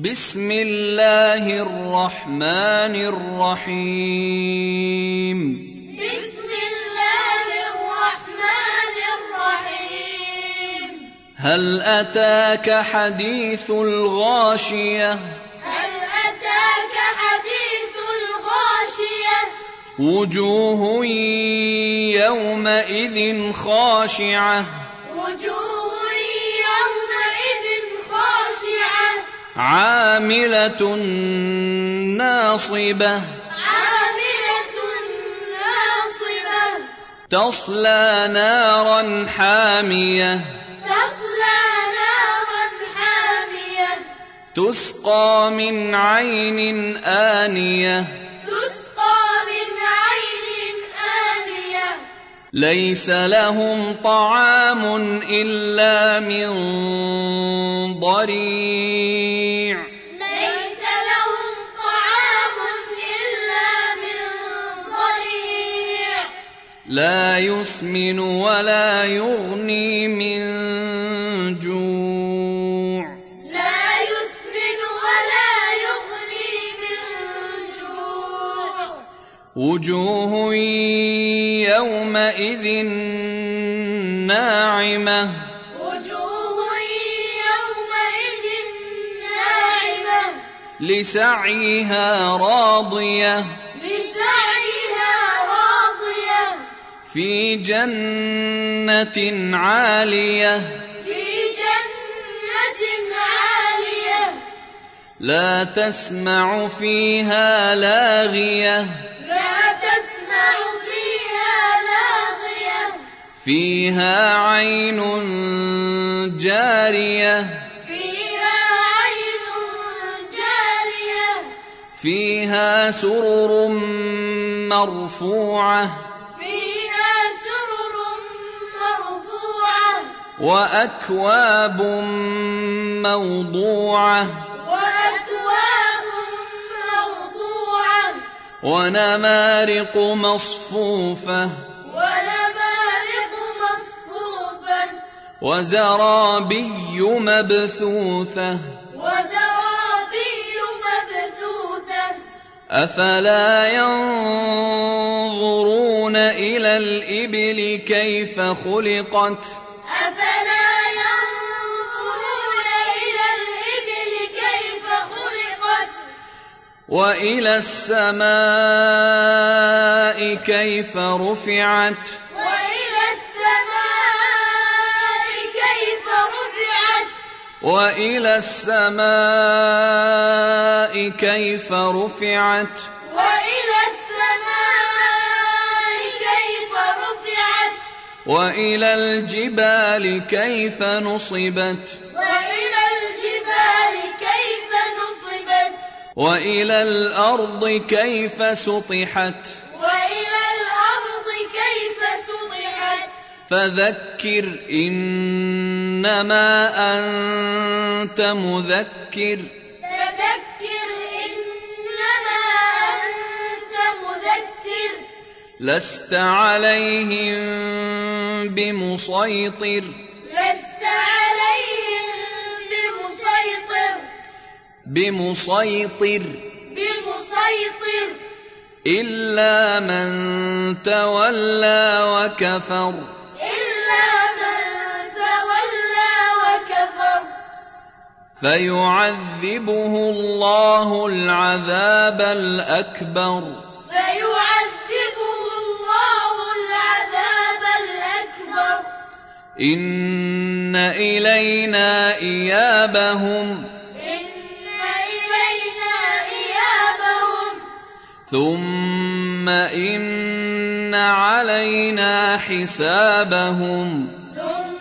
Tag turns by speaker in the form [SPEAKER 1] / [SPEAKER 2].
[SPEAKER 1] بسم الله الرحمن الرحيم
[SPEAKER 2] بسم الله الرحمن الرحيم
[SPEAKER 1] هل أتاك حديث الغاشية
[SPEAKER 2] هل أتاك حديث الغاشية
[SPEAKER 1] وجوه يومئذ خاشعة
[SPEAKER 2] وجوه يومئذ خاشعة
[SPEAKER 1] عاملة ناصبة
[SPEAKER 2] عاملة ناصبة
[SPEAKER 1] تصلى نارا حامية
[SPEAKER 2] تصلى نارا حامية
[SPEAKER 1] تسقى من عين آنية
[SPEAKER 2] تسقى من عين آنية
[SPEAKER 1] ليس لهم طعام إلا من ضريع
[SPEAKER 2] ليس لهم طعام إلا من ضريع
[SPEAKER 1] لا يسمن ولا يغني من جوع
[SPEAKER 2] لا يسمن ولا يغني من جوع
[SPEAKER 1] وجوه يومئذ ناعمة
[SPEAKER 2] وجوه يومئذ ناعمة
[SPEAKER 1] لسعيها راضية
[SPEAKER 2] لسعيها راضية
[SPEAKER 1] في جنة عالية
[SPEAKER 2] في جنة عالية
[SPEAKER 1] لا تسمع فيها لاغية
[SPEAKER 2] لا تسمع فيها لاغية
[SPEAKER 1] فيها عين جارية
[SPEAKER 2] فيها عين جارية
[SPEAKER 1] فيها سرر مرفوعة
[SPEAKER 2] فيها سرر مرفوعة
[SPEAKER 1] وأكواب موضوعة
[SPEAKER 2] وأكواب موضوعة
[SPEAKER 1] ونمارق مصفوفة
[SPEAKER 2] ونمارق مصفوفة
[SPEAKER 1] وزرابي مبثوثة
[SPEAKER 2] وزرابي مبثوثة
[SPEAKER 1] أفلا ينظرون إلى الإبل كيف خلقت
[SPEAKER 2] أفلا ينظرون إلى الإبل كيف خلقت
[SPEAKER 1] وإلى السماء كيف رفعت
[SPEAKER 2] وإلى السماء كيف رفعت
[SPEAKER 1] وإلى السماء كيف رفعت
[SPEAKER 2] وإلى السماء كيف رفعت
[SPEAKER 1] وإلى الجبال كيف نصبت
[SPEAKER 2] وإلى الجبال كيف نصبت
[SPEAKER 1] وإلى الأرض كيف سطحت
[SPEAKER 2] وإلى الأرض كيف سطحت
[SPEAKER 1] فذكر إنما أنت مذكر
[SPEAKER 2] فذكر إنما أنت مذكر
[SPEAKER 1] لست عليهم بمسيطر
[SPEAKER 2] لست عليهم بمسيطر
[SPEAKER 1] بمسيطر
[SPEAKER 2] بمسيطر
[SPEAKER 1] إلا من تولى وكفر
[SPEAKER 2] إلا من تولى وكفر
[SPEAKER 1] فيعذبه الله العذاب الأكبر
[SPEAKER 2] فيعذبه الله العذاب الأكبر
[SPEAKER 1] إن إلينا إيابهم
[SPEAKER 2] إن إلينا إيابهم
[SPEAKER 1] ثم إن علينا حسابهم
[SPEAKER 2] ثم